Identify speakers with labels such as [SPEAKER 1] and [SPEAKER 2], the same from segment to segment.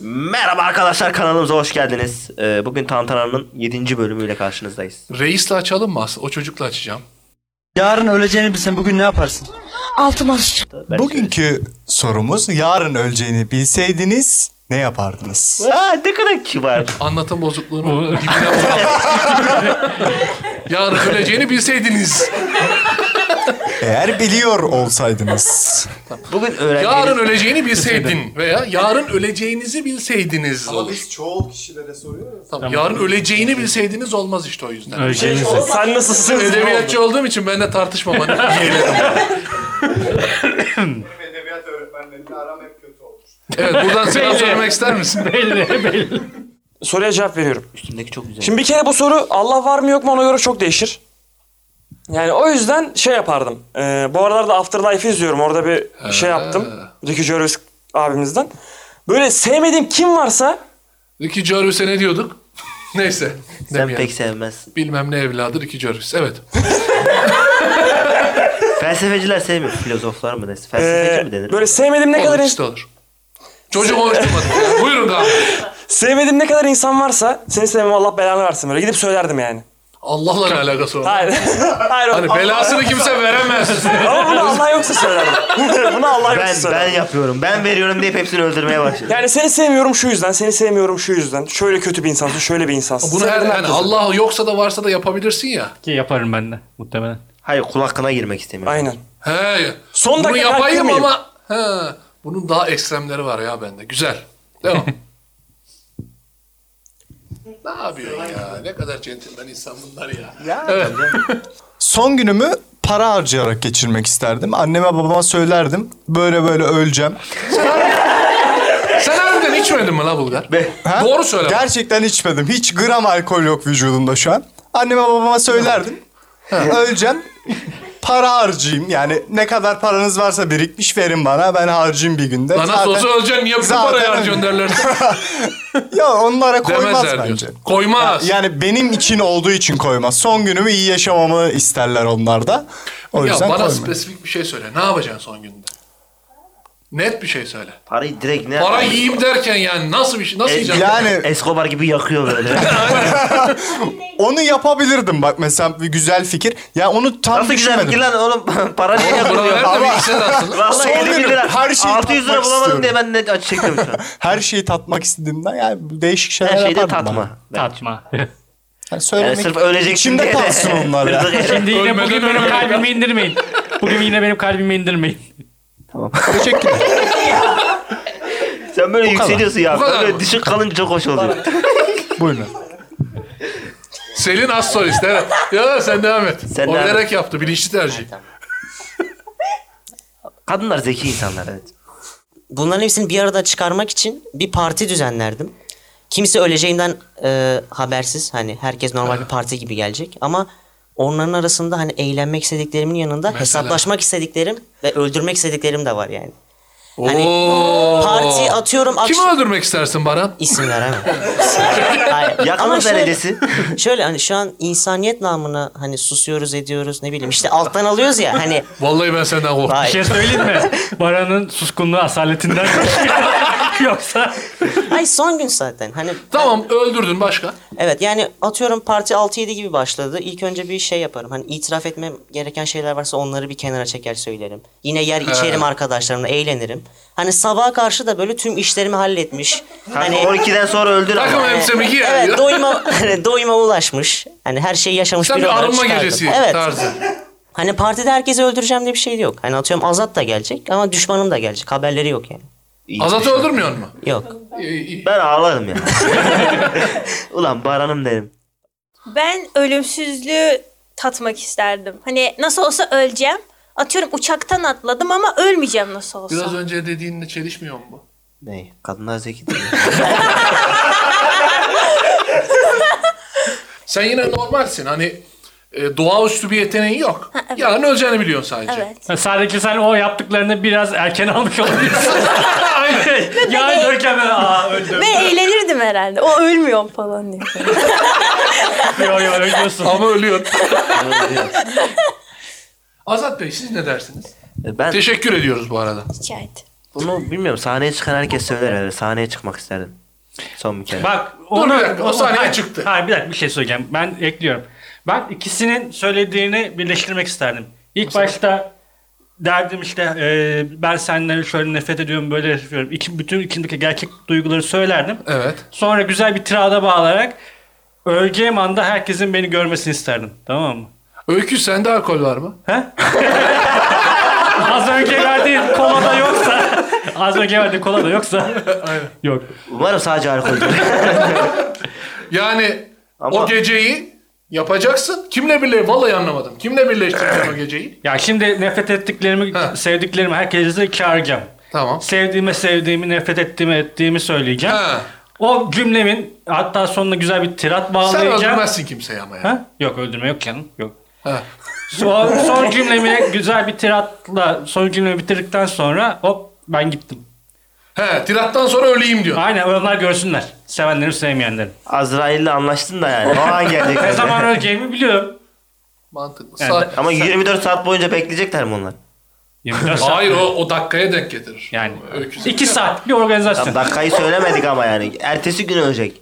[SPEAKER 1] Merhaba arkadaşlar kanalımıza hoş geldiniz. Ee, bugün Tantana'nın 7. bölümüyle karşınızdayız.
[SPEAKER 2] Reisle açalım mı? O çocukla açacağım.
[SPEAKER 3] Yarın öleceğini bilsen bugün ne yaparsın?
[SPEAKER 4] Altıma sıçtım.
[SPEAKER 1] Ben
[SPEAKER 5] Bugünkü sorumuz yarın öleceğini bilseydiniz ne yapardınız?
[SPEAKER 1] şöyle- Aa, ne kadar kibar.
[SPEAKER 2] Anlatım bozukluğunu dibine vuralım. Yarın öleceğini bilseydiniz.
[SPEAKER 5] Eğer biliyor olsaydınız.
[SPEAKER 1] Bugün öğrendiğimiz...
[SPEAKER 2] Yarın öleceğini bilseydin veya yarın öleceğinizi bilseydiniz olur.
[SPEAKER 5] çoğu kişilere soruyoruz.
[SPEAKER 2] Tamam, yarın öleceğini bilseydiniz olmaz işte o yüzden.
[SPEAKER 6] Öleceğinizi.
[SPEAKER 3] Şey, Sen nasılsın?
[SPEAKER 2] Edebiyatçı olduğum için ben de tartışmam. Hani yeğlerim.
[SPEAKER 5] Edebiyat öğretmenlerinin aram hep kötü olur.
[SPEAKER 2] evet buradan selam söylemek ister misin?
[SPEAKER 6] belli belli.
[SPEAKER 3] Soruya cevap veriyorum.
[SPEAKER 1] Üstümdeki çok güzel.
[SPEAKER 3] Şimdi bir kere bu soru Allah var mı yok mu ona göre çok değişir. Yani o yüzden şey yapardım. Ee, bu aralarda Afterlife izliyorum. Orada bir şey yaptım. Ricky Gervais abimizden. Böyle sevmediğim kim varsa
[SPEAKER 2] Ricky Gervais'e ne diyorduk? Neyse.
[SPEAKER 1] Sen
[SPEAKER 2] demeyelim.
[SPEAKER 1] pek sevmezsin.
[SPEAKER 2] Bilmem ne evladı Ricky Gervais. Evet.
[SPEAKER 1] Felsefeciler sevmiyor. Filozoflar mı denir? Felsefeci
[SPEAKER 3] e,
[SPEAKER 1] mi denir?
[SPEAKER 3] böyle sevmediğim ne
[SPEAKER 2] Olur
[SPEAKER 3] kadar
[SPEAKER 2] işte olur. Çocuk konuşturmadı. Buyurun abi.
[SPEAKER 3] sevmediğim ne kadar insan varsa seni sevmem Allah belanı versin böyle gidip söylerdim yani.
[SPEAKER 2] Allah'la ne alakası var?
[SPEAKER 3] Hayır. Hayır.
[SPEAKER 2] Hani belasını kimse veremez.
[SPEAKER 3] Ama bunu Allah yoksa söylerdim. bunu Allah yoksa
[SPEAKER 1] ben,
[SPEAKER 3] söylerdim.
[SPEAKER 1] ben yapıyorum. Ben veriyorum deyip hepsini öldürmeye başladım.
[SPEAKER 3] Yani seni sevmiyorum şu yüzden, seni sevmiyorum şu yüzden. Şöyle kötü bir insansın, şöyle bir insansın.
[SPEAKER 2] Bunu her
[SPEAKER 3] Sevdim
[SPEAKER 2] yani
[SPEAKER 3] herkesi.
[SPEAKER 2] Allah yoksa da varsa da yapabilirsin ya.
[SPEAKER 6] Ki yaparım ben de muhtemelen.
[SPEAKER 1] Hayır kul hakkına girmek istemiyorum.
[SPEAKER 3] Aynen.
[SPEAKER 2] He.
[SPEAKER 3] Son
[SPEAKER 2] bunu
[SPEAKER 3] dakika
[SPEAKER 2] yapayım
[SPEAKER 3] hakkı mıyım?
[SPEAKER 2] ama he, bunun daha ekstremleri var ya bende. Güzel. Devam. ne yapıyorsun ya? Ne kadar centilmen insan bunlar ya.
[SPEAKER 5] Son günümü para harcayarak geçirmek isterdim. Anneme babama söylerdim. Böyle böyle öleceğim.
[SPEAKER 2] Sen harbiden içmedin mi la Bulgar?
[SPEAKER 5] Ha?
[SPEAKER 2] Doğru söyle. bak.
[SPEAKER 5] Gerçekten içmedim. Hiç gram alkol yok vücudumda şu an. Anneme babama söylerdim. Öleceğim. Para harcayayım. Yani ne kadar paranız varsa birikmiş verin bana. Ben harcayayım bir günde.
[SPEAKER 2] Lan nasıl olsa öleceksin. Niye bu
[SPEAKER 5] zaten-
[SPEAKER 2] parayı harcıyorsun derler.
[SPEAKER 5] Ya onlara koymaz
[SPEAKER 2] Demezler
[SPEAKER 5] bence.
[SPEAKER 2] diyorsun. Koymaz.
[SPEAKER 5] Yani benim için olduğu için koymaz. Son günümü iyi yaşamamı isterler onlar da. O
[SPEAKER 2] ya
[SPEAKER 5] yüzden
[SPEAKER 2] bana
[SPEAKER 5] koymaz.
[SPEAKER 2] spesifik bir şey söyle. Ne yapacaksın son günde? Net bir şey söyle.
[SPEAKER 1] Parayı direkt ne
[SPEAKER 2] Para yiyeyim derken yani nasıl bir şey? Nasıl
[SPEAKER 1] E,
[SPEAKER 2] yiyeceksin?
[SPEAKER 5] Yani
[SPEAKER 1] Escobar gibi yakıyor böyle.
[SPEAKER 5] onu yapabilirdim bak mesela bir güzel fikir. Ya onu tam
[SPEAKER 1] Nasıl güzel fikir lan
[SPEAKER 5] düşünmedim.
[SPEAKER 1] oğlum? Para niye
[SPEAKER 2] Buna
[SPEAKER 1] yakılıyor?
[SPEAKER 2] ver de
[SPEAKER 5] Ama-
[SPEAKER 2] bir şey içsene aslında.
[SPEAKER 1] Vallahi
[SPEAKER 5] Son
[SPEAKER 1] 50 bin
[SPEAKER 5] günüm.
[SPEAKER 1] lira.
[SPEAKER 5] Her şeyi
[SPEAKER 1] 600 lira
[SPEAKER 5] tatmak
[SPEAKER 1] bulamadım
[SPEAKER 5] istiyorum.
[SPEAKER 1] diye ben net acı çektim şu an.
[SPEAKER 5] Her şeyi tatmak istediğimden yani değişik şeyler
[SPEAKER 1] Her şeyde
[SPEAKER 5] yapardım ben.
[SPEAKER 1] tatma.
[SPEAKER 6] Tatma.
[SPEAKER 5] Yani
[SPEAKER 1] Yani
[SPEAKER 5] söylemek
[SPEAKER 1] sırf öleceksin
[SPEAKER 5] içimde
[SPEAKER 1] diye de.
[SPEAKER 5] kalsın onlar ya.
[SPEAKER 6] Şimdi yine
[SPEAKER 2] Ölmeden
[SPEAKER 6] bugün benim
[SPEAKER 2] ölmeden.
[SPEAKER 6] kalbimi indirmeyin. Bugün yine benim kalbimi indirmeyin.
[SPEAKER 5] Teşekkürler.
[SPEAKER 1] Sen böyle yükseliyorsun ya.
[SPEAKER 2] Bu kadar
[SPEAKER 1] Böyle
[SPEAKER 2] mı?
[SPEAKER 1] düşük kalınca çok hoş oluyor.
[SPEAKER 5] Buyurun.
[SPEAKER 2] Selin az solist evet. Ya sen devam et.
[SPEAKER 1] Sen
[SPEAKER 2] o
[SPEAKER 1] devam
[SPEAKER 2] bilerek yaptı bilinçli tercih.
[SPEAKER 1] Kadınlar zeki insanlar evet.
[SPEAKER 7] Bunların hepsini bir arada çıkarmak için bir parti düzenlerdim. Kimse öleceğimden e, habersiz hani herkes normal bir parti gibi gelecek ama onların arasında hani eğlenmek istediklerimin yanında hesaplaşmak istediklerim ve öldürmek istediklerim de var yani. Hani
[SPEAKER 2] Oo.
[SPEAKER 7] parti atıyorum
[SPEAKER 2] Kimi
[SPEAKER 7] akşam
[SPEAKER 2] öldürmek istersin Baran?
[SPEAKER 7] isim veremem. Hayır.
[SPEAKER 1] Yakma
[SPEAKER 7] Ama şöyle-
[SPEAKER 1] derecesi.
[SPEAKER 7] Şöyle hani şu an insaniyet namına hani susuyoruz ediyoruz ne bileyim işte alttan alıyoruz ya hani
[SPEAKER 2] Vallahi ben senden korktum.
[SPEAKER 6] Bir şey söyleyeyim mi? Baran'ın suskunluğu asaletinden Yoksa
[SPEAKER 7] ay son gün zaten hani
[SPEAKER 2] Tamam öldürdün başka.
[SPEAKER 7] Evet yani atıyorum parti 6-7 gibi başladı. İlk önce bir şey yaparım. Hani itiraf etmem gereken şeyler varsa onları bir kenara çeker söylerim. Yine yer içerim arkadaşlarımla eğlenirim. Hani sabaha karşı da böyle tüm işlerimi halletmiş.
[SPEAKER 1] Hani
[SPEAKER 7] hani e,
[SPEAKER 1] 12'den sonra öldür
[SPEAKER 2] Takım
[SPEAKER 1] ama.
[SPEAKER 2] elbisemi giy.
[SPEAKER 7] evet doyuma hani doyuma ulaşmış. Hani her şeyi yaşamış
[SPEAKER 2] Sen
[SPEAKER 7] biri
[SPEAKER 2] bir
[SPEAKER 7] olarak
[SPEAKER 2] arınma
[SPEAKER 7] çıkardım.
[SPEAKER 2] gecesi
[SPEAKER 7] Evet.
[SPEAKER 2] tarzı.
[SPEAKER 7] Hani partide herkesi öldüreceğim diye bir şey yok. Hani atıyorum Azat da gelecek ama düşmanım da gelecek. Haberleri yok yani.
[SPEAKER 1] İyi.
[SPEAKER 2] Azat'ı öldürmüyor mu?
[SPEAKER 7] Yok.
[SPEAKER 1] Ben ağlarım ya. Ulan baranım derim.
[SPEAKER 8] Ben ölümsüzlüğü tatmak isterdim. Hani nasıl olsa öleceğim. Atıyorum uçaktan atladım ama ölmeyeceğim nasıl olsa.
[SPEAKER 2] Biraz önce dediğinle çelişmiyor mu bu?
[SPEAKER 1] Ne? Kadınlar zeki değil.
[SPEAKER 2] Sen yine normalsin hani e, doğaüstü bir yeteneğin yok. Yarın öleceğini biliyorsun sadece.
[SPEAKER 8] Evet.
[SPEAKER 6] sadece sen o yaptıklarını biraz erken almış olabilirsin.
[SPEAKER 2] Aynen.
[SPEAKER 6] Yarın ölürken ben aa öldüm.
[SPEAKER 8] Ve eğlenirdim herhalde. O ölmüyorum falan diye.
[SPEAKER 6] Yo yo ölüyorsun.
[SPEAKER 2] Ama ölüyor. Azat Bey siz ne dersiniz?
[SPEAKER 1] E, Ben
[SPEAKER 2] Teşekkür ediyoruz bu arada.
[SPEAKER 8] Şikayet.
[SPEAKER 1] bunu bilmiyorum. Sahneye çıkan herkes söyler herhalde. Sahneye çıkmak isterdim. Son bir kere.
[SPEAKER 6] Bak
[SPEAKER 2] bir dakika, o sahneye
[SPEAKER 6] hayır,
[SPEAKER 2] çıktı.
[SPEAKER 6] Hayır bir dakika bir şey söyleyeceğim. Ben ekliyorum. Ben ikisinin söylediğini birleştirmek isterdim. İlk başta derdim işte e, ben senden şöyle nefret ediyorum böyle nefret ediyorum. İki, bütün içimdeki gerçek duyguları söylerdim.
[SPEAKER 2] Evet.
[SPEAKER 6] Sonra güzel bir tirada bağlayarak öleceğim anda herkesin beni görmesini isterdim. Tamam mı?
[SPEAKER 2] Öykü sende alkol var mı?
[SPEAKER 6] He? az önce verdiğin kola da yoksa az önce verdiğin kola da yoksa yok.
[SPEAKER 1] Umarım sadece alkoldür.
[SPEAKER 2] Yani
[SPEAKER 1] Ama-
[SPEAKER 2] o geceyi yapacaksın. Kimle birleştirdin? Vallahi anlamadım. Kimle birleştirdin o geceyi?
[SPEAKER 6] Ya şimdi nefret ettiklerimi,
[SPEAKER 2] Ha.
[SPEAKER 6] sevdiklerimi herkese çağıracağım.
[SPEAKER 2] Tamam.
[SPEAKER 6] Sevdiğime sevdiğimi, nefret ettiğime ettiğimi söyleyeceğim.
[SPEAKER 2] Ha.
[SPEAKER 6] O cümlemin hatta sonuna güzel bir tirat
[SPEAKER 2] Sen
[SPEAKER 6] bağlayacağım.
[SPEAKER 2] öldürmezsin kimseyi ama ya.
[SPEAKER 6] Ha? Yok öldürme yok canım. Yok.
[SPEAKER 2] Ha.
[SPEAKER 6] Son, son cümlemi güzel bir tiratla son cümlemi bitirdikten sonra hop ben gittim.
[SPEAKER 2] He, tirattan sonra öleyim diyor.
[SPEAKER 6] Aynen onlar görsünler. Sevenlerim sevmeyenlerim.
[SPEAKER 1] Azrail'le anlaştın da yani. O an gelecek.
[SPEAKER 6] Ne zaman öleceğimi biliyorum.
[SPEAKER 2] Mantıklı.
[SPEAKER 6] Yani
[SPEAKER 2] Sa-
[SPEAKER 1] Ama 24 saat boyunca bekleyecekler mi onlar?
[SPEAKER 6] 24 saat.
[SPEAKER 2] Hayır o, o dakikaya denk getirir.
[SPEAKER 6] Yani
[SPEAKER 2] Öykü-
[SPEAKER 6] 2 saat bir organizasyon.
[SPEAKER 1] Tam dakikayı söylemedik ama yani. Ertesi gün ölecek.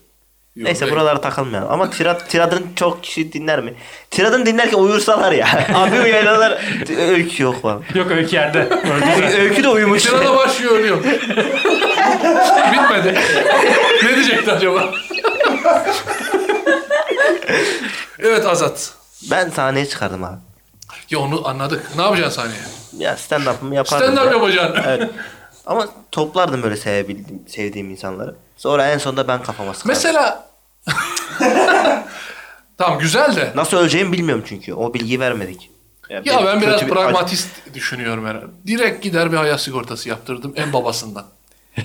[SPEAKER 2] Yok,
[SPEAKER 1] Neyse
[SPEAKER 2] be-
[SPEAKER 1] buralara takılmayalım. Ama tirat, tiradın çok kişi dinler mi? Tiradın dinlerken uyursalar ya. Abi uyanırlar. Öykü yok falan.
[SPEAKER 6] Yok öykü yerde. Öldüler.
[SPEAKER 1] Öykü de uyumuş.
[SPEAKER 2] Tirada başlıyor ölüyor. Bitmedi. ne diyecekti acaba? evet Azat.
[SPEAKER 1] ben sahneye çıkardım abi.
[SPEAKER 2] Ya onu anladık. Ne yapacaksın sahneye?
[SPEAKER 1] Ya stand-up'ımı yapardım.
[SPEAKER 2] Stand-up
[SPEAKER 1] ya.
[SPEAKER 2] yapacaksın.
[SPEAKER 1] Evet. Ama toplardım böyle sevebildiğim, sevdiğim insanları. Sonra en sonunda ben kafama sıkardım.
[SPEAKER 2] Mesela... tamam güzel de.
[SPEAKER 1] Nasıl öleceğimi bilmiyorum çünkü. O bilgiyi vermedik.
[SPEAKER 2] Ya
[SPEAKER 1] benim
[SPEAKER 2] ben
[SPEAKER 1] kötü
[SPEAKER 2] biraz
[SPEAKER 1] bir-
[SPEAKER 2] pragmatist düşünüyorum herhalde. Direkt gider bir hayat sigortası yaptırdım en babasından.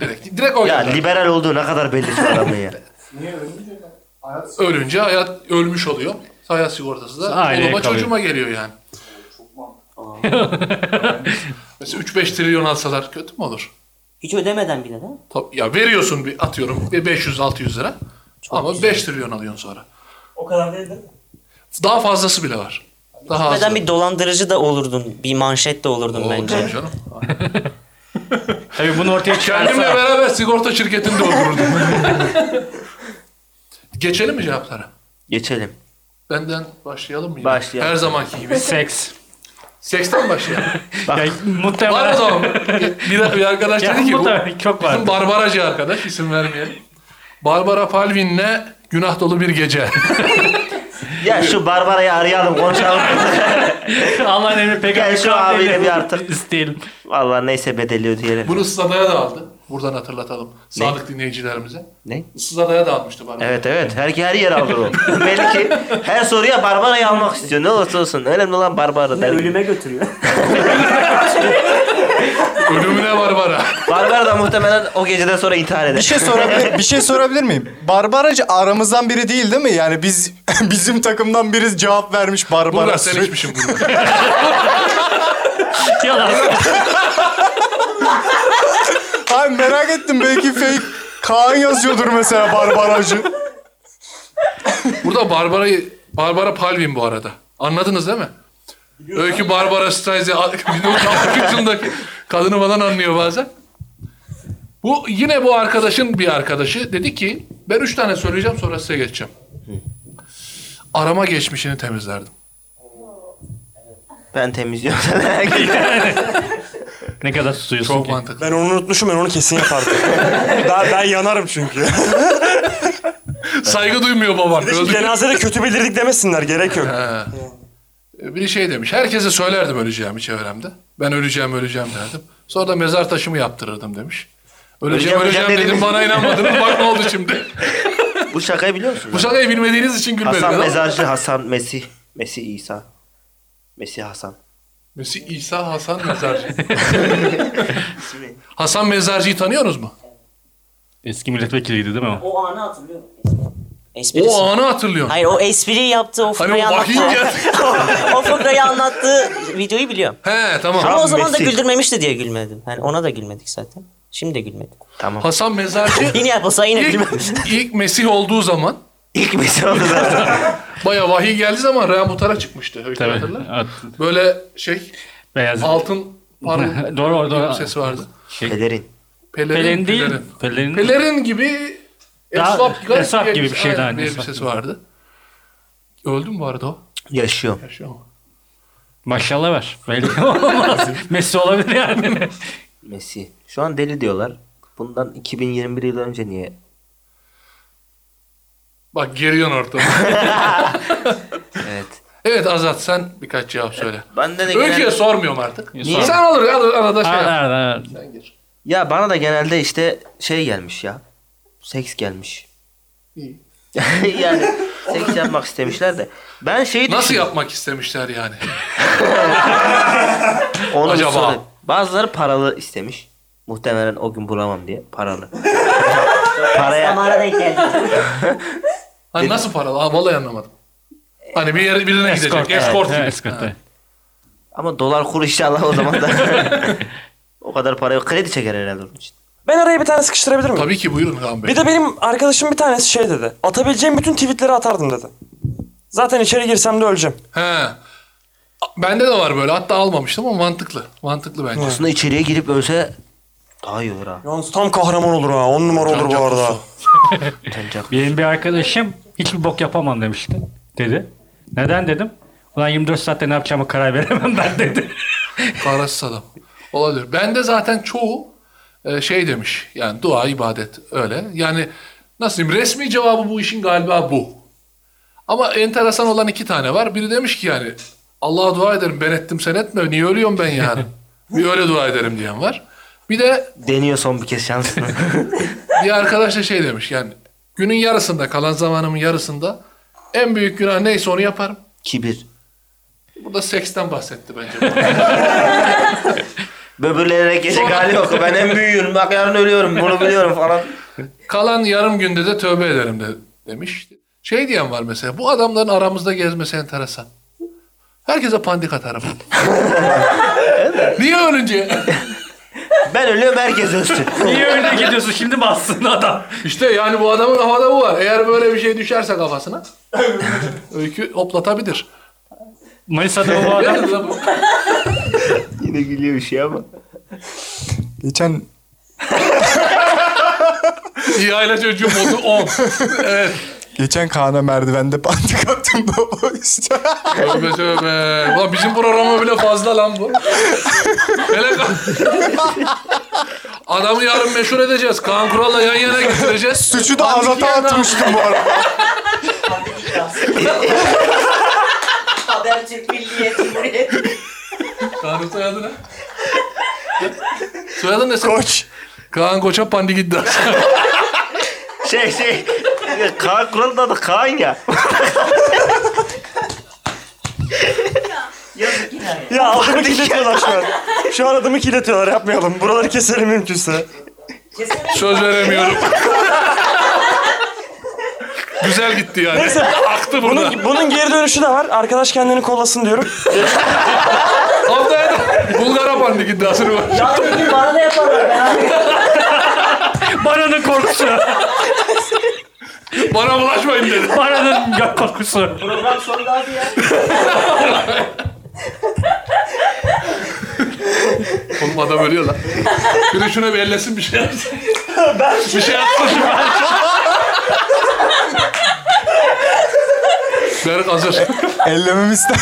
[SPEAKER 2] direkt, direkt o
[SPEAKER 1] Ya
[SPEAKER 2] gider.
[SPEAKER 1] liberal olduğu ne kadar belli şu adamın ya.
[SPEAKER 2] Ölünce hayat ölmüş oluyor. Hayat sigortası da
[SPEAKER 6] Aileye
[SPEAKER 2] oğluma
[SPEAKER 6] kalıyor.
[SPEAKER 2] çocuğuma geliyor yani. Mesela 3-5 trilyon alsalar kötü mü olur?
[SPEAKER 7] Hiç ödemeden bile de.
[SPEAKER 2] Tabii- Ya veriyorsun bir atıyorum bir 500-600 lira ama 5 trilyon alıyorsun sonra.
[SPEAKER 7] O kadar değil mi?
[SPEAKER 2] Daha fazlası bile var. Daha az.
[SPEAKER 7] Ödemeden bir dolandırıcı da olurdun. Bir manşet de olurdun bence.
[SPEAKER 2] canım.
[SPEAKER 6] Tabii bunu ortaya
[SPEAKER 2] Kendimle
[SPEAKER 6] çıkarsa.
[SPEAKER 2] beraber sigorta şirketini de öldürürdüm. Geçelim mi cevaplara?
[SPEAKER 1] Geçelim.
[SPEAKER 2] Benden başlayalım mı? yine?
[SPEAKER 1] Başlayalım.
[SPEAKER 2] Her zamanki gibi.
[SPEAKER 6] Seks.
[SPEAKER 2] Seksten başlayalım.
[SPEAKER 6] Ya,
[SPEAKER 2] var o
[SPEAKER 6] muhtemelen.
[SPEAKER 2] zaman. Bir, bir arkadaş
[SPEAKER 6] Ya,
[SPEAKER 2] dedi ki bu
[SPEAKER 6] muhtemelen çok var.
[SPEAKER 2] bizim Barbaracı arkadaş isim vermeyelim. Barbara Palvin'le Günah Dolu Bir Gece.
[SPEAKER 1] Ya şu Barbara'yı arayalım konuşalım.
[SPEAKER 6] Allah'ın emri
[SPEAKER 1] Gel
[SPEAKER 6] peygamber.
[SPEAKER 1] şu abiyle bir artık.
[SPEAKER 6] İsteyelim.
[SPEAKER 1] Vallahi neyse bedeli ödeyelim.
[SPEAKER 2] Bunu Sızada'ya da aldı. Buradan hatırlatalım. Sadık dinleyicilerimize.
[SPEAKER 1] Ne?
[SPEAKER 2] Sızada'ya da almıştı Barbara.
[SPEAKER 1] Evet evet her, her yer alır o. Belli ki her soruya Barbara'yı almak istiyor. Ne olursa olsun. Önemli olan Barbara. der.
[SPEAKER 7] götürüyor.
[SPEAKER 2] Ölümüne Barbara.
[SPEAKER 1] Barbara da muhtemelen o geceden sonra intihar eder.
[SPEAKER 5] Bir şey sorabilir, bir şey sorabilir miyim? Barbaracı aramızdan biri değil değil mi? Yani biz bizim takımdan biri cevap vermiş Barbara.
[SPEAKER 2] Bulgar sen şey içmişsin bunu.
[SPEAKER 6] Yalan.
[SPEAKER 5] Ay merak ettim belki fake Kaan yazıyordur mesela Barbaracı.
[SPEAKER 2] Burada Barbara'yı Barbara Palvin bu arada. Anladınız değil mi? Öykü Barbara Streisand 1963 yılındaki kadını falan anlıyor bazen. Bu yine bu arkadaşın bir arkadaşı dedi ki ben üç tane söyleyeceğim sonra size geçeceğim. Arama geçmişini temizlerdim.
[SPEAKER 1] Ben temizliyorum sana.
[SPEAKER 6] ne kadar tutuyorsun
[SPEAKER 2] Çok
[SPEAKER 6] ki?
[SPEAKER 2] mantıklı.
[SPEAKER 3] Ben onu unutmuşum ben onu kesin yapardım. ben, ben yanarım çünkü.
[SPEAKER 2] Saygı duymuyor baban. Öldü.
[SPEAKER 3] Cenazede kötü bildirdik demesinler gerek yok.
[SPEAKER 2] Biri şey demiş. Herkese söylerdim öleceğimi çevremde. Ben öleceğim öleceğim derdim. Sonra da mezar taşımı yaptırırdım demiş. Öleceğim
[SPEAKER 1] Öleceğim,
[SPEAKER 2] öleceğim,
[SPEAKER 1] öleceğim
[SPEAKER 2] dedim
[SPEAKER 1] dediniz.
[SPEAKER 2] bana inanmadınız. Bak ne oldu şimdi.
[SPEAKER 1] Bu şakayı biliyor musun?
[SPEAKER 2] Bu şakayı bilmediğiniz için gülmedim.
[SPEAKER 1] Hasan
[SPEAKER 2] ama-
[SPEAKER 1] Mezarcı, Hasan Mesih, Mesih İsa. Mesih Hasan.
[SPEAKER 2] Mesih İsa Hasan Mezarcı. Hasan Mezarcı'yı tanıyorsunuz mu?
[SPEAKER 6] Eski milletvekiliydi değil mi o?
[SPEAKER 7] O anı hatırlıyor Esprisi.
[SPEAKER 2] O anı hatırlıyorum.
[SPEAKER 7] Hayır o espriyi yaptı, o
[SPEAKER 2] Hani
[SPEAKER 7] fıkrayı
[SPEAKER 2] o
[SPEAKER 7] anlattı.
[SPEAKER 2] vahiy geldi.
[SPEAKER 7] o fıkrayı anlattığı videoyu biliyorum.
[SPEAKER 2] He tamam.
[SPEAKER 7] Ama o zaman da
[SPEAKER 1] Messi.
[SPEAKER 7] güldürmemişti diye gülmedim. Yani ona da gülmedik zaten. Şimdi de gülmedik.
[SPEAKER 1] Tamam.
[SPEAKER 2] Hasan Mezarcı
[SPEAKER 7] Yine yapılsa yine gülmedim.
[SPEAKER 2] ilk, ilk Mesih olduğu zaman
[SPEAKER 1] İlk Mesih oldu zaten.
[SPEAKER 2] baya vahiy geldiği zaman Rea Mutar'a çıkmıştı. Öykü
[SPEAKER 6] Tabii.
[SPEAKER 2] hatırlar.
[SPEAKER 6] At-
[SPEAKER 2] Böyle şey
[SPEAKER 6] Beyaz.
[SPEAKER 2] altın parıl
[SPEAKER 6] Doğru, doğru.
[SPEAKER 2] ses vardı.
[SPEAKER 1] Şey- Pelerin.
[SPEAKER 2] Pelerin,
[SPEAKER 6] Pelerin değil.
[SPEAKER 2] Pelerin.
[SPEAKER 6] Pelerin.
[SPEAKER 2] Pelerin gibi
[SPEAKER 6] Daha
[SPEAKER 2] esvap, garip
[SPEAKER 6] esvap gibi bir şeydi,
[SPEAKER 2] aynen,
[SPEAKER 6] aynen,
[SPEAKER 2] bir
[SPEAKER 6] esvap
[SPEAKER 2] elbisesi
[SPEAKER 6] gibi.
[SPEAKER 2] vardı. Öldü mü bu arada o?
[SPEAKER 1] Yaşıyor.
[SPEAKER 2] Yaşıyor mu?
[SPEAKER 6] Maşallah var. Belli olmaz. Messi olabilir yani.
[SPEAKER 1] Messi. Şu an deli diyorlar. Bundan 2021 yıl önce niye?
[SPEAKER 2] Bak geriyorsun ortamı.
[SPEAKER 1] Evet.
[SPEAKER 2] evet Azat sen birkaç cevap söyle.
[SPEAKER 1] Bende de
[SPEAKER 2] Öykü'ye
[SPEAKER 1] genel...
[SPEAKER 2] sormuyorum artık.
[SPEAKER 6] Niye?
[SPEAKER 2] Sen olur ya arada şey yap.
[SPEAKER 6] Aa,
[SPEAKER 2] Sen gir.
[SPEAKER 1] Ya bana da genelde işte şey gelmiş ya. Seks gelmiş.
[SPEAKER 2] İyi.
[SPEAKER 1] yani seks yapmak istemişler de. Ben şeyi
[SPEAKER 2] Nasıl
[SPEAKER 1] düşünüyorum.
[SPEAKER 2] yapmak istemişler yani?
[SPEAKER 1] Onu bir
[SPEAKER 2] acaba?
[SPEAKER 1] sorayım. Bazıları paralı istemiş. Muhtemelen o gün bulamam diye paralı. Paraya
[SPEAKER 7] Samara denk geldi.
[SPEAKER 2] Hani nasıl paralı? Aa, vallahi anlamadım. Hani bir yere birine
[SPEAKER 6] Escort.
[SPEAKER 2] gidecek. Escort gibi.
[SPEAKER 6] Escort. evet.
[SPEAKER 1] ama dolar kuru inşallah o zaman da. o kadar parayı kredi çeker herhalde onun için.
[SPEAKER 3] Ben araya bir tane sıkıştırabilir miyim?
[SPEAKER 2] Tabii ki buyurun Kaan Bey.
[SPEAKER 3] Bir de benim arkadaşım bir tanesi şey dedi. Atabileceğim bütün tweetleri atardım dedi. Zaten içeri girsem de öleceğim.
[SPEAKER 2] He. Bende de var böyle. Hatta almamıştım ama mantıklı. Mantıklı bence.
[SPEAKER 1] Aslında içeriye girip ölse daha iyi olur ha.
[SPEAKER 3] Yalnız tam kahraman olur ha. On numara olur bu arada.
[SPEAKER 1] Tenca-
[SPEAKER 6] Benim bir arkadaşım hiçbir bok yapamam demişti. Dedi. Neden dedim. Ulan 24 saatte ne yapacağımı karar veremem ben dedi.
[SPEAKER 2] Parasız adam. Olabilir. Bende zaten çoğu e, şey demiş. Yani dua, ibadet öyle. Yani nasıl diyeyim? Resmi cevabı bu işin galiba bu. Ama enteresan olan iki tane var. Biri demiş ki yani Allah'a dua ederim ben ettim sen etme. Niye ölüyorum ben yani? bir öyle dua ederim diyen var. Bir de
[SPEAKER 1] Deniyor son bir kez şansını.
[SPEAKER 2] bir arkadaş da şey demiş yani günün yarısında kalan zamanımın yarısında en büyük günah neyse onu yaparım.
[SPEAKER 1] Kibir.
[SPEAKER 2] Burada seksten bahsetti bence.
[SPEAKER 1] Böbürlenerek gece hali yok. Ben en büyüğüm. Bak yarın ölüyorum. Bunu biliyorum falan.
[SPEAKER 2] Kalan yarım günde de tövbe ederim de, demiş. Şey diyen var mesela bu adamların aramızda gezmesi enteresan. Herkese pandik atarım. Niye ölünce?
[SPEAKER 1] Ben ölüyorum herkes ölsün.
[SPEAKER 6] Niye öyle gidiyorsun şimdi bassın adam.
[SPEAKER 2] işte yani bu adamın havada bu var. Eğer böyle bir şey düşerse kafasına öykü hoplatabilir.
[SPEAKER 6] Manisa'da bu adam.
[SPEAKER 2] Nerede lan bu?
[SPEAKER 1] Yine gülüyor bir şey ama.
[SPEAKER 5] Geçen
[SPEAKER 2] İyi aile çocuğu modu 10. Evet.
[SPEAKER 5] geçen Kaan'a merdivende pantik attım da o işte.
[SPEAKER 2] Tövbe tövbe. Ulan bizim programa bile fazla lan bu. Hele ka- Adamı yarın meşhur edeceğiz. Kaan Kural'la yan yana getireceğiz.
[SPEAKER 5] Suçu da Azat'a atmıştım bu arada.
[SPEAKER 7] Habertürk Milliyet Cumhuriyet.
[SPEAKER 2] Kaan'ın soyadı ne? Soyadın ne senin?
[SPEAKER 5] Koç.
[SPEAKER 2] Kaan Koç'a pandi gitti.
[SPEAKER 1] Şey şey. Kaan Kural'ın adı Kaan ya.
[SPEAKER 3] Ya adamı kilitliyorlar şu an. Şu an adamı kilitliyorlar yapmayalım. Buraları keselim mümkünse.
[SPEAKER 2] Söz veremiyorum. Güzel gitti yani.
[SPEAKER 3] Neyse.
[SPEAKER 2] Aktı burada.
[SPEAKER 3] Bunun, bunun geri dönüşü de var. Arkadaş kendini kollasın diyorum.
[SPEAKER 2] Haftaya da Bulgar'a pandi iddiasını var.
[SPEAKER 7] Bana da yaparlar. Ben
[SPEAKER 6] Baranın korkusu.
[SPEAKER 2] Bana bulaşmayın dedi.
[SPEAKER 6] Baranın gök korkusu.
[SPEAKER 7] program sonunda abi ya.
[SPEAKER 2] Oğlum adam ölüyor lan. Bir de şuna bir ellesin bir şey yapsın. bir şey yapsın. Berk hazır.
[SPEAKER 5] Ellememi ister.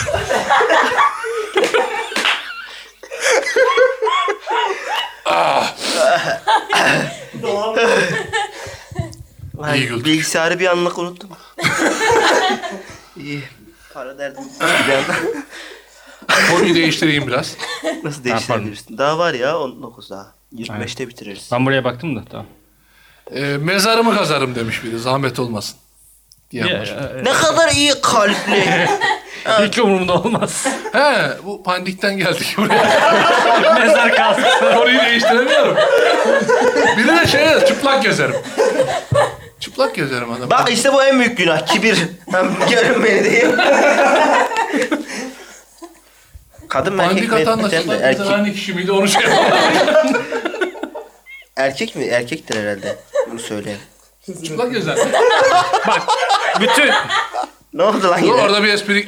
[SPEAKER 2] İyi güldük.
[SPEAKER 1] Bilgisayarı bir anlık unuttum. İyi. Para derdim. Bir anda
[SPEAKER 2] Konuyu değiştireyim biraz.
[SPEAKER 1] Nasıl değiştirebilirsin? Daha var ya 19 daha. 25'te bitiririz.
[SPEAKER 6] Ben buraya baktım da tamam.
[SPEAKER 2] Ee, mezarımı kazarım demiş biri. Zahmet olmasın. Diyen var.
[SPEAKER 1] Ne kadar iyi kalpli.
[SPEAKER 6] Hiç umurumda olmaz.
[SPEAKER 2] He, bu pandikten geldik buraya.
[SPEAKER 6] Mezar kalsın.
[SPEAKER 2] Konuyu değiştiremiyorum. Biri de şey yaz, çıplak gezerim. Çıplak gezerim adam.
[SPEAKER 1] Bak işte bu en büyük günah. Kibir. Hem Görün beni diye. Kadın mı erkek
[SPEAKER 2] Pandik
[SPEAKER 1] mi?
[SPEAKER 2] atan da
[SPEAKER 1] Sen de
[SPEAKER 2] çıplak
[SPEAKER 1] erkek,
[SPEAKER 2] gezen aynı kişi miydi onu şey yapamam.
[SPEAKER 1] erkek mi? Erkektir herhalde. Bunu söyle.
[SPEAKER 2] çıplak gezer.
[SPEAKER 6] Bütün.
[SPEAKER 1] Ne oldu lan
[SPEAKER 2] Dur
[SPEAKER 1] yine?
[SPEAKER 2] orada bir espri...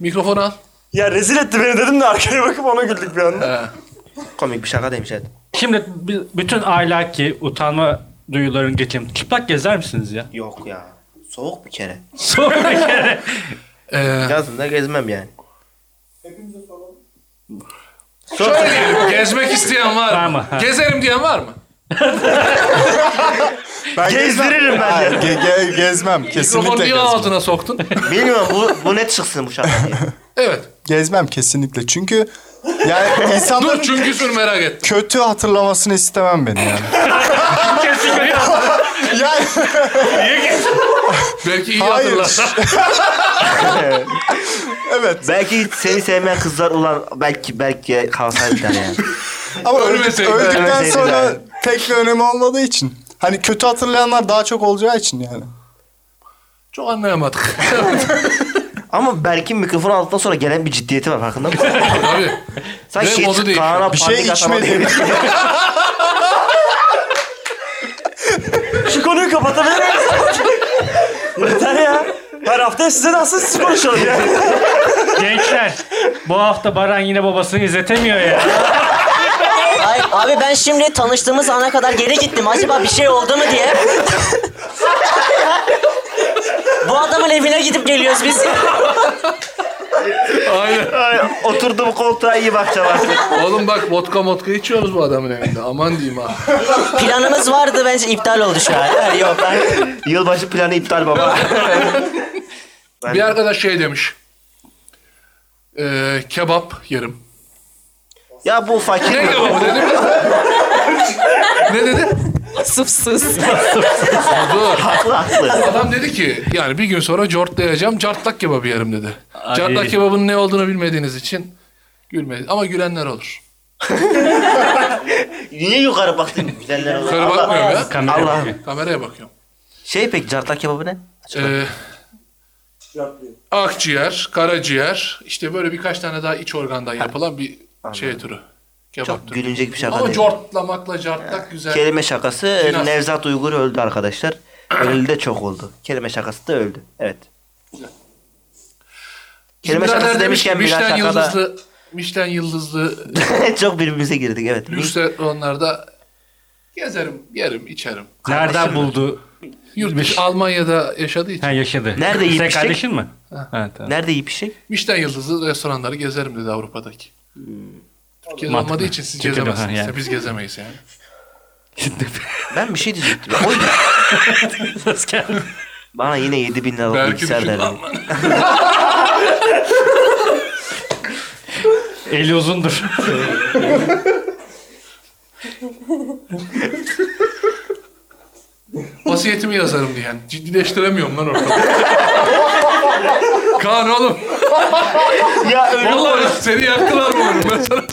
[SPEAKER 2] Mikrofonu al.
[SPEAKER 3] Ya rezil etti beni dedim de arkaya bakıp ona güldük bir anda.
[SPEAKER 2] He.
[SPEAKER 1] Komik bir şaka demiş hadi.
[SPEAKER 6] Şimdi b- bütün ahlaki utanma duyularını geçeyim. Çıplak gezer misiniz ya?
[SPEAKER 1] Yok ya. Soğuk bir kere.
[SPEAKER 6] Sonra bir kere.
[SPEAKER 2] Ee,
[SPEAKER 1] Yazında gezmem yani.
[SPEAKER 2] şöyle diyelim, gezmek isteyen var
[SPEAKER 6] Var mı?
[SPEAKER 2] mı?
[SPEAKER 6] Ha.
[SPEAKER 2] Gezerim diyen var mı?
[SPEAKER 5] Ben
[SPEAKER 1] Gezdiririm ben
[SPEAKER 5] Hayır, ge- ge- gezmem
[SPEAKER 2] Mikrofonu
[SPEAKER 5] kesinlikle
[SPEAKER 2] niye
[SPEAKER 5] gezmem.
[SPEAKER 2] altına soktun?
[SPEAKER 1] Bilmiyorum bu, bu ne çıksın bu şarkı diye.
[SPEAKER 2] evet.
[SPEAKER 5] Gezmem kesinlikle çünkü yani
[SPEAKER 2] Dur
[SPEAKER 5] insanların
[SPEAKER 2] çünkü şunu merak ettim.
[SPEAKER 5] kötü hatırlamasını istemem ben yani.
[SPEAKER 6] Kesin böyle yaptı.
[SPEAKER 5] yani
[SPEAKER 2] Belki iyi
[SPEAKER 5] Hayır.
[SPEAKER 2] hatırlarsan.
[SPEAKER 5] evet
[SPEAKER 1] belki seni sevmeyen kızlar ulan belki belki kalsaydı der yani.
[SPEAKER 5] ama öldük,
[SPEAKER 2] Ölmeseydi.
[SPEAKER 5] öldükten
[SPEAKER 1] Ölmeseydi
[SPEAKER 5] sonra
[SPEAKER 1] yani.
[SPEAKER 5] pek bir önemi olmadığı için. Hani kötü hatırlayanlar daha çok olacağı için yani.
[SPEAKER 2] Çok anlayamadık.
[SPEAKER 1] Ama Berk'in mikrofon aldıktan sonra gelen bir ciddiyeti var farkında mısın?
[SPEAKER 2] Tabii.
[SPEAKER 1] Sanki
[SPEAKER 2] Ve
[SPEAKER 1] şey,
[SPEAKER 2] modu değişiyor.
[SPEAKER 1] Kaan'a
[SPEAKER 5] Bir şey
[SPEAKER 1] panik atama
[SPEAKER 5] içmedi.
[SPEAKER 3] Şu konuyu kapatabilir miyiz? Yeter ya. Her hafta size de aslında siz konuşalım ya.
[SPEAKER 6] Gençler bu hafta Baran yine babasını izletemiyor ya.
[SPEAKER 7] Ay, abi ben şimdi tanıştığımız ana kadar geri gittim. Acaba bir şey oldu mu diye. Bu adamın evine gidip geliyoruz biz.
[SPEAKER 2] Aynen.
[SPEAKER 1] Ay, Oturduğum koltuğa iyi bakacağım artık.
[SPEAKER 2] Oğlum bak vodka motka içiyoruz bu adamın evinde. Aman diyeyim ha.
[SPEAKER 7] Planımız vardı bence iptal oldu şu an. Yani yok ben...
[SPEAKER 1] Yılbaşı planı iptal baba.
[SPEAKER 2] Bir arkadaş şey demiş. Ee, kebap yerim.
[SPEAKER 1] ya bu fakir
[SPEAKER 2] Ne
[SPEAKER 1] mi?
[SPEAKER 2] kebabı dedi mi? ne dedi?
[SPEAKER 4] Asıfsız.
[SPEAKER 2] Dur.
[SPEAKER 1] Haklı haklı.
[SPEAKER 2] Adam dedi ki yani bir gün sonra cortlayacağım cartlak kebabı yerim dedi. Cartlak kebabının ne olduğunu bilmediğiniz için gülmeyin. Ama gülenler olur.
[SPEAKER 1] Niye yukarı baktın? Güzeller oldu.
[SPEAKER 2] Yukarı
[SPEAKER 1] Allah-
[SPEAKER 2] bakmıyorum ya.
[SPEAKER 6] Kamera
[SPEAKER 1] Allah'ım.
[SPEAKER 6] bakıyor.
[SPEAKER 2] Kameraya bakıyorum.
[SPEAKER 1] Şey peki cartlak kebabı ne?
[SPEAKER 2] Ee, akciğer, karaciğer, işte böyle birkaç tane daha iç organdan yapılan bir şey türü. Kebap
[SPEAKER 1] Çok
[SPEAKER 2] türü.
[SPEAKER 1] gülünecek bir şaka
[SPEAKER 2] Ama
[SPEAKER 1] değil.
[SPEAKER 2] cortlamakla cartlak güzel.
[SPEAKER 1] Kelime şakası
[SPEAKER 2] Biraz.
[SPEAKER 1] Nevzat Uygur öldü arkadaşlar. Öldü de çok oldu. Kelime şakası da öldü. Evet. Kelime
[SPEAKER 2] Birader
[SPEAKER 1] şakası
[SPEAKER 2] demiş ki,
[SPEAKER 1] demişken bir
[SPEAKER 2] Michelin
[SPEAKER 1] şakada
[SPEAKER 2] yıldızlı, Michelin yıldızlı
[SPEAKER 1] çok birbirimize girdik evet.
[SPEAKER 2] lüks restoranlarda gezerim, yerim, içerim.
[SPEAKER 6] Nereden buldu?
[SPEAKER 2] Yurt dışı Almanya'da yaşadığı için
[SPEAKER 6] Ha yaşadı.
[SPEAKER 1] Nerede
[SPEAKER 6] Sen
[SPEAKER 1] yetişecek?
[SPEAKER 6] kardeşin mi? Ha, tamam.
[SPEAKER 1] Nerede iyi bir şey?
[SPEAKER 2] Michelin yıldızlı restoranları gezerim dedi Avrupa'daki. Türkiye'de
[SPEAKER 6] Mantıklı.
[SPEAKER 2] olmadığı için siz
[SPEAKER 6] Türkiye'de ha,
[SPEAKER 2] gezemezsiniz.
[SPEAKER 6] yani.
[SPEAKER 2] Biz gezemeyiz yani.
[SPEAKER 1] Ben bir şey diyecektim. Oy,
[SPEAKER 6] Ses geldi.
[SPEAKER 1] bana yine 7000 liralık
[SPEAKER 2] Belki
[SPEAKER 1] bilgisayar
[SPEAKER 2] düşün.
[SPEAKER 1] derdi.
[SPEAKER 2] Aman.
[SPEAKER 6] Eli uzundur.
[SPEAKER 2] Vasiyetimi yazarım diyen. Ciddileştiremiyorum lan orada. Kaan oğlum.
[SPEAKER 1] ya ölüm,
[SPEAKER 2] Vallahi seni yaktılar mı oğlum? Ben sana-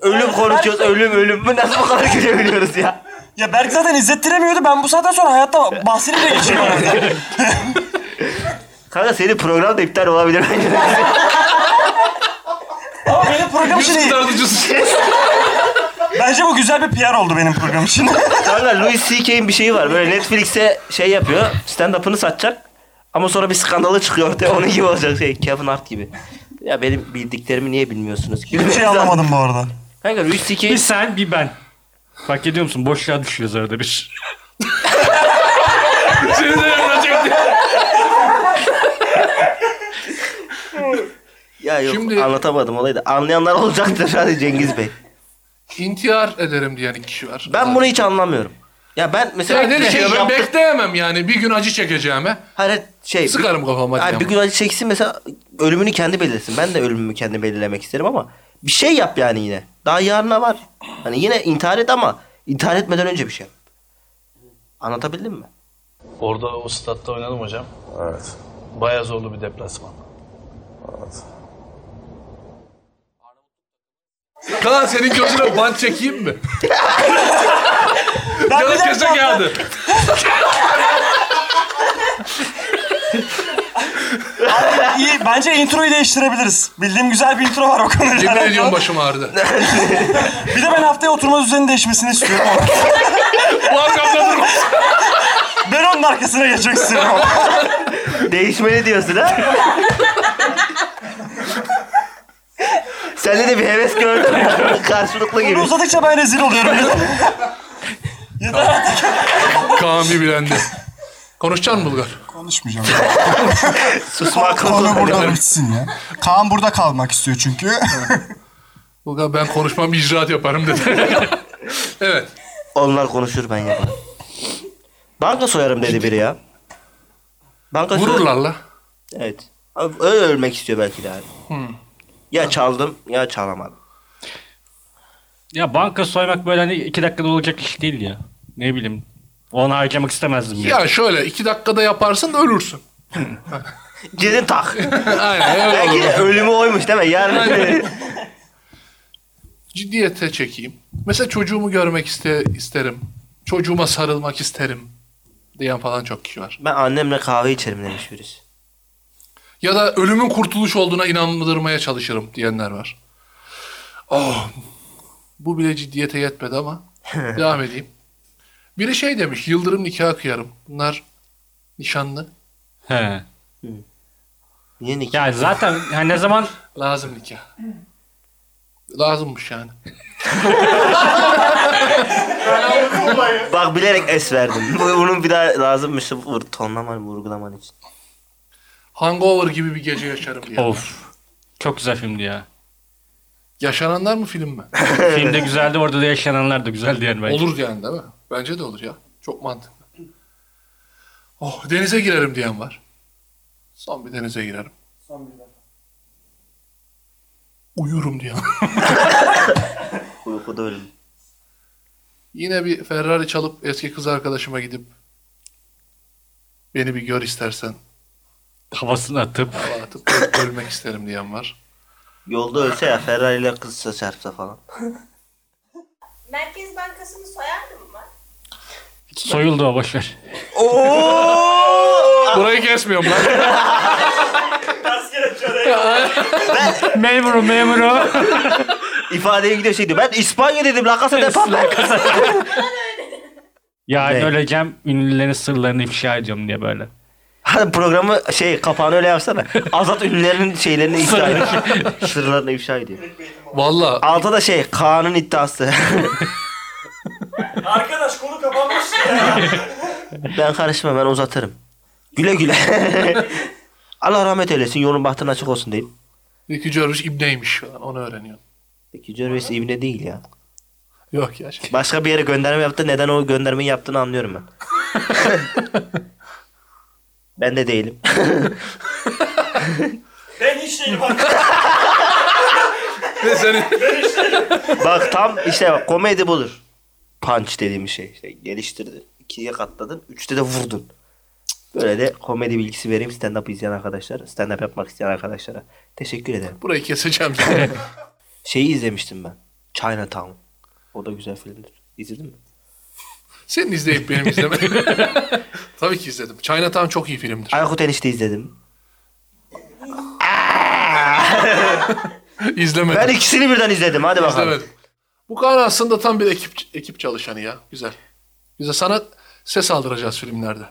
[SPEAKER 1] ölüm konuşuyoruz. Ölüm ölüm. Bu nasıl bu kadar gülebiliyoruz ya?
[SPEAKER 3] Ya Berk zaten izlettiremiyordu. Ben bu saatten sonra hayatta bahsini bile geçirmem. herhalde.
[SPEAKER 1] Kanka senin program da iptal olabilir bence.
[SPEAKER 3] Ama benim program için
[SPEAKER 2] Yüz
[SPEAKER 3] iyi.
[SPEAKER 2] tartıcısı.
[SPEAKER 3] Bence bu güzel bir PR oldu benim program için.
[SPEAKER 1] Kanka Louis C.K.'in bir şeyi var. Böyle Netflix'e şey yapıyor. Stand-up'ını satacak. Ama sonra bir skandalı çıkıyor ortaya. Onun gibi olacak şey. Kevin Hart gibi. Ya benim bildiklerimi niye bilmiyorsunuz? ki?
[SPEAKER 3] Bir şey anlamadım bu arada.
[SPEAKER 1] Kanka Louis C.K.
[SPEAKER 6] bir sen bir ben. Fark ediyor musun? Boşluğa düşüyoruz arada bir.
[SPEAKER 2] Seni de yakılacak diye.
[SPEAKER 1] Ya yok
[SPEAKER 2] Şimdi-
[SPEAKER 1] anlatamadım olayı da. Anlayanlar olacaktır hadi Cengiz Bey.
[SPEAKER 2] İntihar ederim diyen iki kişi var.
[SPEAKER 1] Ben bunu hiç anlamıyorum. Ya ben mesela
[SPEAKER 2] Ya ne
[SPEAKER 1] bir şey
[SPEAKER 2] şey ben
[SPEAKER 1] yaptık.
[SPEAKER 2] bekleyemem yani. Bir gün acı çekeceğime.
[SPEAKER 1] Hayır şey.
[SPEAKER 2] Sıkarım kafama
[SPEAKER 1] Hayır,
[SPEAKER 2] diyen
[SPEAKER 1] bir gün acı çeksin mesela ölümünü kendi belirlesin. Ben de ölümümü kendi belirlemek isterim ama bir şey yap yani yine. Daha yarına var. Hani yine intihar et ama intihar etmeden önce bir şey yap. Anlatabildim mi?
[SPEAKER 9] Orada o statta oynadım hocam.
[SPEAKER 10] Evet.
[SPEAKER 9] Bayağı zorlu bir deplasman.
[SPEAKER 2] Kaan senin gözüne bant çekeyim mi?
[SPEAKER 3] Ben
[SPEAKER 2] Yalı
[SPEAKER 3] bir
[SPEAKER 2] köşe
[SPEAKER 3] dakika-
[SPEAKER 2] geldi.
[SPEAKER 3] İyi, bence introyu değiştirebiliriz. Bildiğim güzel bir intro var o konuyla
[SPEAKER 2] Yemin
[SPEAKER 3] alakalı.
[SPEAKER 2] ediyorum başım ağrıdı.
[SPEAKER 3] Bir de ben haftaya oturma düzeni değişmesini istiyorum.
[SPEAKER 2] Bu arkamda durma.
[SPEAKER 3] ben onun arkasına geçmek istiyorum.
[SPEAKER 1] Değişmeli diyorsun ha? Sende de bir heves gördüm. Karşılıklı gibi.
[SPEAKER 3] Uzadıkça ben rezil oluyorum.
[SPEAKER 2] Kaan bir bilendi. Konuşacaksın mı Bulgar?
[SPEAKER 5] Konuşmayacağım.
[SPEAKER 1] Susma
[SPEAKER 5] Konu
[SPEAKER 1] akıllı.
[SPEAKER 5] burada bitsin ya. Kaan burada kalmak istiyor çünkü.
[SPEAKER 2] Bulgar ben konuşmam icraat yaparım dedi. evet.
[SPEAKER 1] Onlar konuşur ben yaparım. Banka soyarım dedi biri ya. Banka soyarım.
[SPEAKER 2] Vururlar la.
[SPEAKER 1] Evet. Abi Öyle ölmek istiyor belki de abi. Ya çaldım ya çalamadım.
[SPEAKER 6] Ya banka soymak böyle hani iki dakikada olacak iş değil ya. Ne bileyim. Onu harcamak istemezdim ya.
[SPEAKER 2] Ya şöyle iki dakikada yaparsın ölürsün.
[SPEAKER 1] Girdin tak.
[SPEAKER 2] Aynen öyle
[SPEAKER 1] belki de
[SPEAKER 2] olur.
[SPEAKER 1] ölümü oymuş değil mi? Yarın
[SPEAKER 2] Ciddiyete çekeyim. Mesela çocuğumu görmek iste isterim. Çocuğuma sarılmak isterim. Diyen falan çok kişi var.
[SPEAKER 1] ben annemle kahve içerim demiş birisi.
[SPEAKER 2] Ya da ölümün kurtuluş olduğuna inandırmaya çalışırım diyenler var. Oh, bu bile ciddiyete yetmedi ama devam edeyim. Biri şey demiş, yıldırım nikah kıyarım. Bunlar nişanlı,
[SPEAKER 6] He.
[SPEAKER 1] Niye nikah?
[SPEAKER 6] Ya zaten yani ne zaman
[SPEAKER 2] lazım nikah. Lazımmış yani.
[SPEAKER 1] Bak bilerek es verdim. Bu- Bunun bir daha lazımmış vur, tonlaman vurgulaman için.
[SPEAKER 2] Hangover gibi bir gece yaşarım diye.
[SPEAKER 6] of çok güzel filmdi ya.
[SPEAKER 2] Yaşananlar mı film mi?
[SPEAKER 6] Film de güzeldi orada da yaşananlar da güzeldi yani bence.
[SPEAKER 2] Olur yani değil mi? Bence de olur ya. Çok mantıklı. Oh denize girerim diyen var. Son bir denize girerim. Son bir Uyurum diyen. var.
[SPEAKER 1] Uykuda ölüm.
[SPEAKER 2] Yine bir Ferrari çalıp eski kız arkadaşıma gidip beni bir gör istersen
[SPEAKER 6] Havasını atıp
[SPEAKER 2] hava atıp öl- ölmek isterim diyen var.
[SPEAKER 1] Yolda ölse ya Ferrari ile kızsa çarpsa falan.
[SPEAKER 8] Merkez Bankası'nı soyardım mı?
[SPEAKER 6] soyuldu o boşver.
[SPEAKER 2] Burayı kesmiyorum lan.
[SPEAKER 6] Memuru memuru.
[SPEAKER 1] İfadeye gidiyor şey diyor. Ben İspanya dedim. La Casa de Papel.
[SPEAKER 6] yani
[SPEAKER 1] Ne?
[SPEAKER 6] öleceğim ünlülerin sırlarını ifşa ediyorum diye böyle.
[SPEAKER 1] Hadi programı şey kapağını öyle yapsana. Azat ünlülerin şeylerini ifşa ediyor. Sırlarını ifşa ediyor.
[SPEAKER 2] Valla
[SPEAKER 1] Altta da şey Kaan'ın iddiası.
[SPEAKER 3] Arkadaş konu kapanmış.
[SPEAKER 1] ben karışmam ben uzatırım. Güle güle. Allah rahmet eylesin. Yolun bahtın açık olsun diyeyim.
[SPEAKER 2] Ricky Gervais ibneymiş falan onu öğreniyorum.
[SPEAKER 1] Peki Gervais ibne değil ya.
[SPEAKER 2] Yok ya. şey,
[SPEAKER 1] Başka bir yere gönderme yaptı. Neden o göndermeyi yaptığını anlıyorum ben. ben de değilim.
[SPEAKER 3] ben hiç değilim
[SPEAKER 2] Ne senin?
[SPEAKER 1] Bak tam işte bak, komedi budur. Punch dediğim şey. İşte geliştirdin. ikiye katladın. Üçte de vurdun. Böyle de komedi bilgisi vereyim stand-up izleyen arkadaşlar. Stand-up yapmak isteyen arkadaşlara. Teşekkür ederim.
[SPEAKER 2] Burayı keseceğim. zaten.
[SPEAKER 1] Şeyi izlemiştim ben. Chinatown. O da güzel filmdir. İzledin mi?
[SPEAKER 2] Senin izleyip benim izleme. Tabii ki izledim. Chinatown çok iyi filmdir.
[SPEAKER 1] Aykut Enişte izledim.
[SPEAKER 2] İzlemedim.
[SPEAKER 1] Ben ikisini birden izledim. Hadi bakalım.
[SPEAKER 2] İzlemedim. Bu Kaan aslında tam bir ekip ekip çalışanı ya. Güzel. Bize sana ses aldıracağız filmlerde.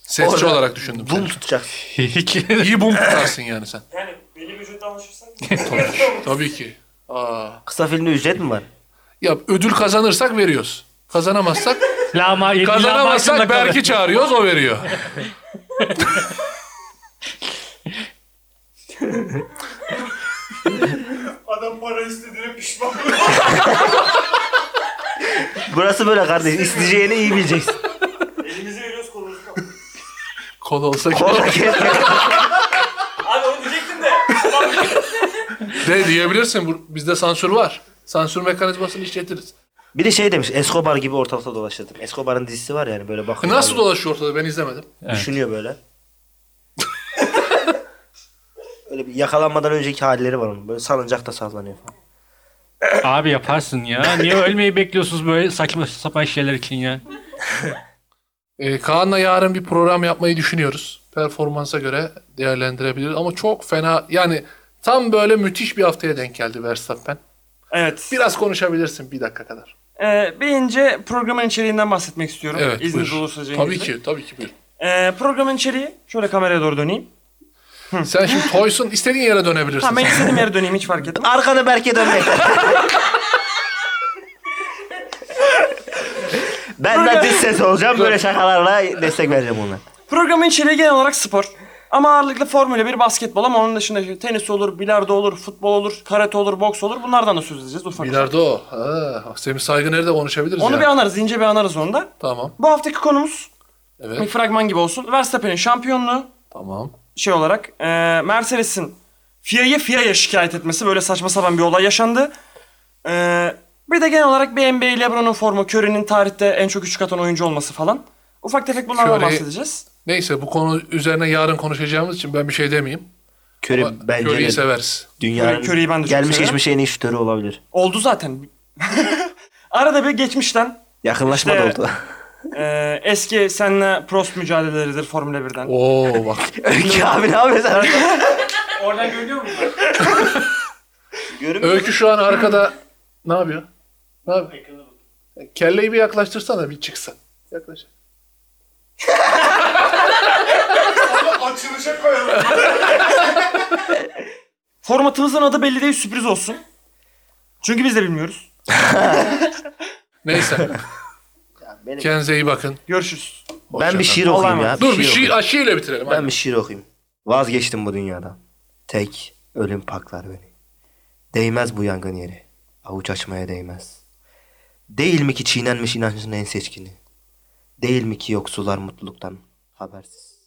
[SPEAKER 2] Sesçi
[SPEAKER 1] Orada
[SPEAKER 2] olarak düşündüm.
[SPEAKER 1] Bum tutacak.
[SPEAKER 2] seni. İyi bum tutarsın yani sen.
[SPEAKER 3] Yani benim vücutta anlaşırsan.
[SPEAKER 2] Tabii ki. Aa.
[SPEAKER 1] Kısa filmde ücret mi var?
[SPEAKER 2] Ya ödül kazanırsak veriyoruz. Kazanamazsak
[SPEAKER 6] Lama yedi
[SPEAKER 2] kazanamazsak
[SPEAKER 6] lahmacun da kalır.
[SPEAKER 2] belki çağırıyoruz o veriyor.
[SPEAKER 9] Adam para istediğine pişman.
[SPEAKER 1] Burası böyle kardeş. İsteyeceğini iyi bileceksin.
[SPEAKER 3] Elimizi veriyoruz kolumuzu
[SPEAKER 2] Kol olsa
[SPEAKER 1] Oğlum keşke-
[SPEAKER 3] Abi onu diyecektim de.
[SPEAKER 2] de diyebilirsin. Bu- Bizde sansür var. Sansür mekanizmasını işletiriz.
[SPEAKER 1] Bir de şey demiş. Escobar gibi ortalıkta dolaşırdım. Escobar'ın dizisi var yani böyle bakıyor.
[SPEAKER 2] E Nasıl dolaşıyor ortada ben izlemedim.
[SPEAKER 1] Düşünüyor böyle. Öyle bir yakalanmadan önceki halleri var onun. Böyle salıncakta sallanıyor falan.
[SPEAKER 6] Abi yaparsın ya. Niye ölmeyi bekliyorsunuz böyle saçma sapan şeyler için ya?
[SPEAKER 2] Ee, Kaan'la yarın bir program yapmayı düşünüyoruz. Performansa göre değerlendirebiliriz ama çok fena yani tam böyle müthiş bir haftaya denk geldi Verstappen.
[SPEAKER 3] Evet.
[SPEAKER 2] Biraz konuşabilirsin bir dakika kadar.
[SPEAKER 3] Ee, bir ince programın içeriğinden bahsetmek istiyorum.
[SPEAKER 2] Evet
[SPEAKER 3] İzniniz
[SPEAKER 2] buyur.
[SPEAKER 3] olursa Cengiz
[SPEAKER 2] Tabii
[SPEAKER 3] Bey.
[SPEAKER 2] ki tabii ki buyur.
[SPEAKER 3] Ee, programın içeriği şöyle kameraya doğru döneyim.
[SPEAKER 2] Sen şimdi toysun istediğin yere dönebilirsin.
[SPEAKER 3] Tamam ben istediğim yere döneyim hiç fark etmez.
[SPEAKER 1] Arkanı Berk'e dönmek. ben de düz ses olacağım. Böyle şakalarla destek vereceğim ona.
[SPEAKER 3] Programın içeriği genel olarak spor. Ama ağırlıklı Formula 1 basketbol ama onun dışında işte tenis olur, bilardo olur, futbol olur, karate olur, boks olur. Bunlardan da söz edeceğiz ufak. ufak.
[SPEAKER 2] Bilardo. Ha, Semih Saygı nerede konuşabiliriz
[SPEAKER 3] Onu
[SPEAKER 2] ya.
[SPEAKER 3] bir anarız, ince bir anarız onu da.
[SPEAKER 2] Tamam.
[SPEAKER 3] Bu haftaki konumuz bir
[SPEAKER 2] Evet.
[SPEAKER 3] fragman gibi olsun. Verstappen'in şampiyonluğu
[SPEAKER 2] Tamam.
[SPEAKER 3] şey olarak e, Mercedes'in FIA'yı FIA'ya şikayet etmesi böyle saçma sapan bir olay yaşandı. E, bir de genel olarak bir NBA LeBron'un formu, Curry'nin tarihte en çok üçlük atan oyuncu olması falan. Ufak tefek bunlardan
[SPEAKER 2] Curry-
[SPEAKER 3] bahsedeceğiz.
[SPEAKER 2] Neyse bu konu üzerine yarın konuşacağımız için ben bir şey demeyeyim.
[SPEAKER 1] Körü
[SPEAKER 2] Ama
[SPEAKER 1] bence
[SPEAKER 2] Curry'i
[SPEAKER 1] de
[SPEAKER 2] severiz.
[SPEAKER 1] dünyanın
[SPEAKER 3] Curry'i ben de çok
[SPEAKER 1] gelmiş
[SPEAKER 3] severim.
[SPEAKER 1] geçmiş en iyi şütörü olabilir.
[SPEAKER 3] Oldu zaten. Arada bir geçmişten
[SPEAKER 1] Yakınlaşma da
[SPEAKER 3] İşte-
[SPEAKER 1] oldu.
[SPEAKER 3] e, eski senle Prost mücadeleleridir Formula 1'den.
[SPEAKER 2] Oo bak.
[SPEAKER 1] Öykü abi ne yapıyorsun?
[SPEAKER 6] Oradan görünüyor mu?
[SPEAKER 2] Öykü şu an arkada ne yapıyor? Ne yapıyor? Kelleyi bir yaklaştırsana bir çıksın. Yaklaş.
[SPEAKER 9] Açılışa koyalım.
[SPEAKER 3] Formatımızın adı belli değil sürpriz olsun. Çünkü biz de bilmiyoruz.
[SPEAKER 2] Neyse. Kendinize iyi bakın.
[SPEAKER 3] Görüşürüz.
[SPEAKER 1] ben bir şiir
[SPEAKER 2] Hoşça
[SPEAKER 1] okuyayım ya.
[SPEAKER 3] Olamaz.
[SPEAKER 2] kalın. Dur bir
[SPEAKER 1] şiir
[SPEAKER 2] şiir,
[SPEAKER 1] okuyayım.
[SPEAKER 2] a, şiirle bitirelim. hadi.
[SPEAKER 1] Ben bir şiir okuyayım. Vazgeçtim bu dünyadan. Tek ölüm paklar beni. Değmez bu yangın yeri. Avuç açmaya değmez. Değil mi ki çiğnenmiş inancın en seçkini? Değil mi ki yoksullar mutluluktan habersiz?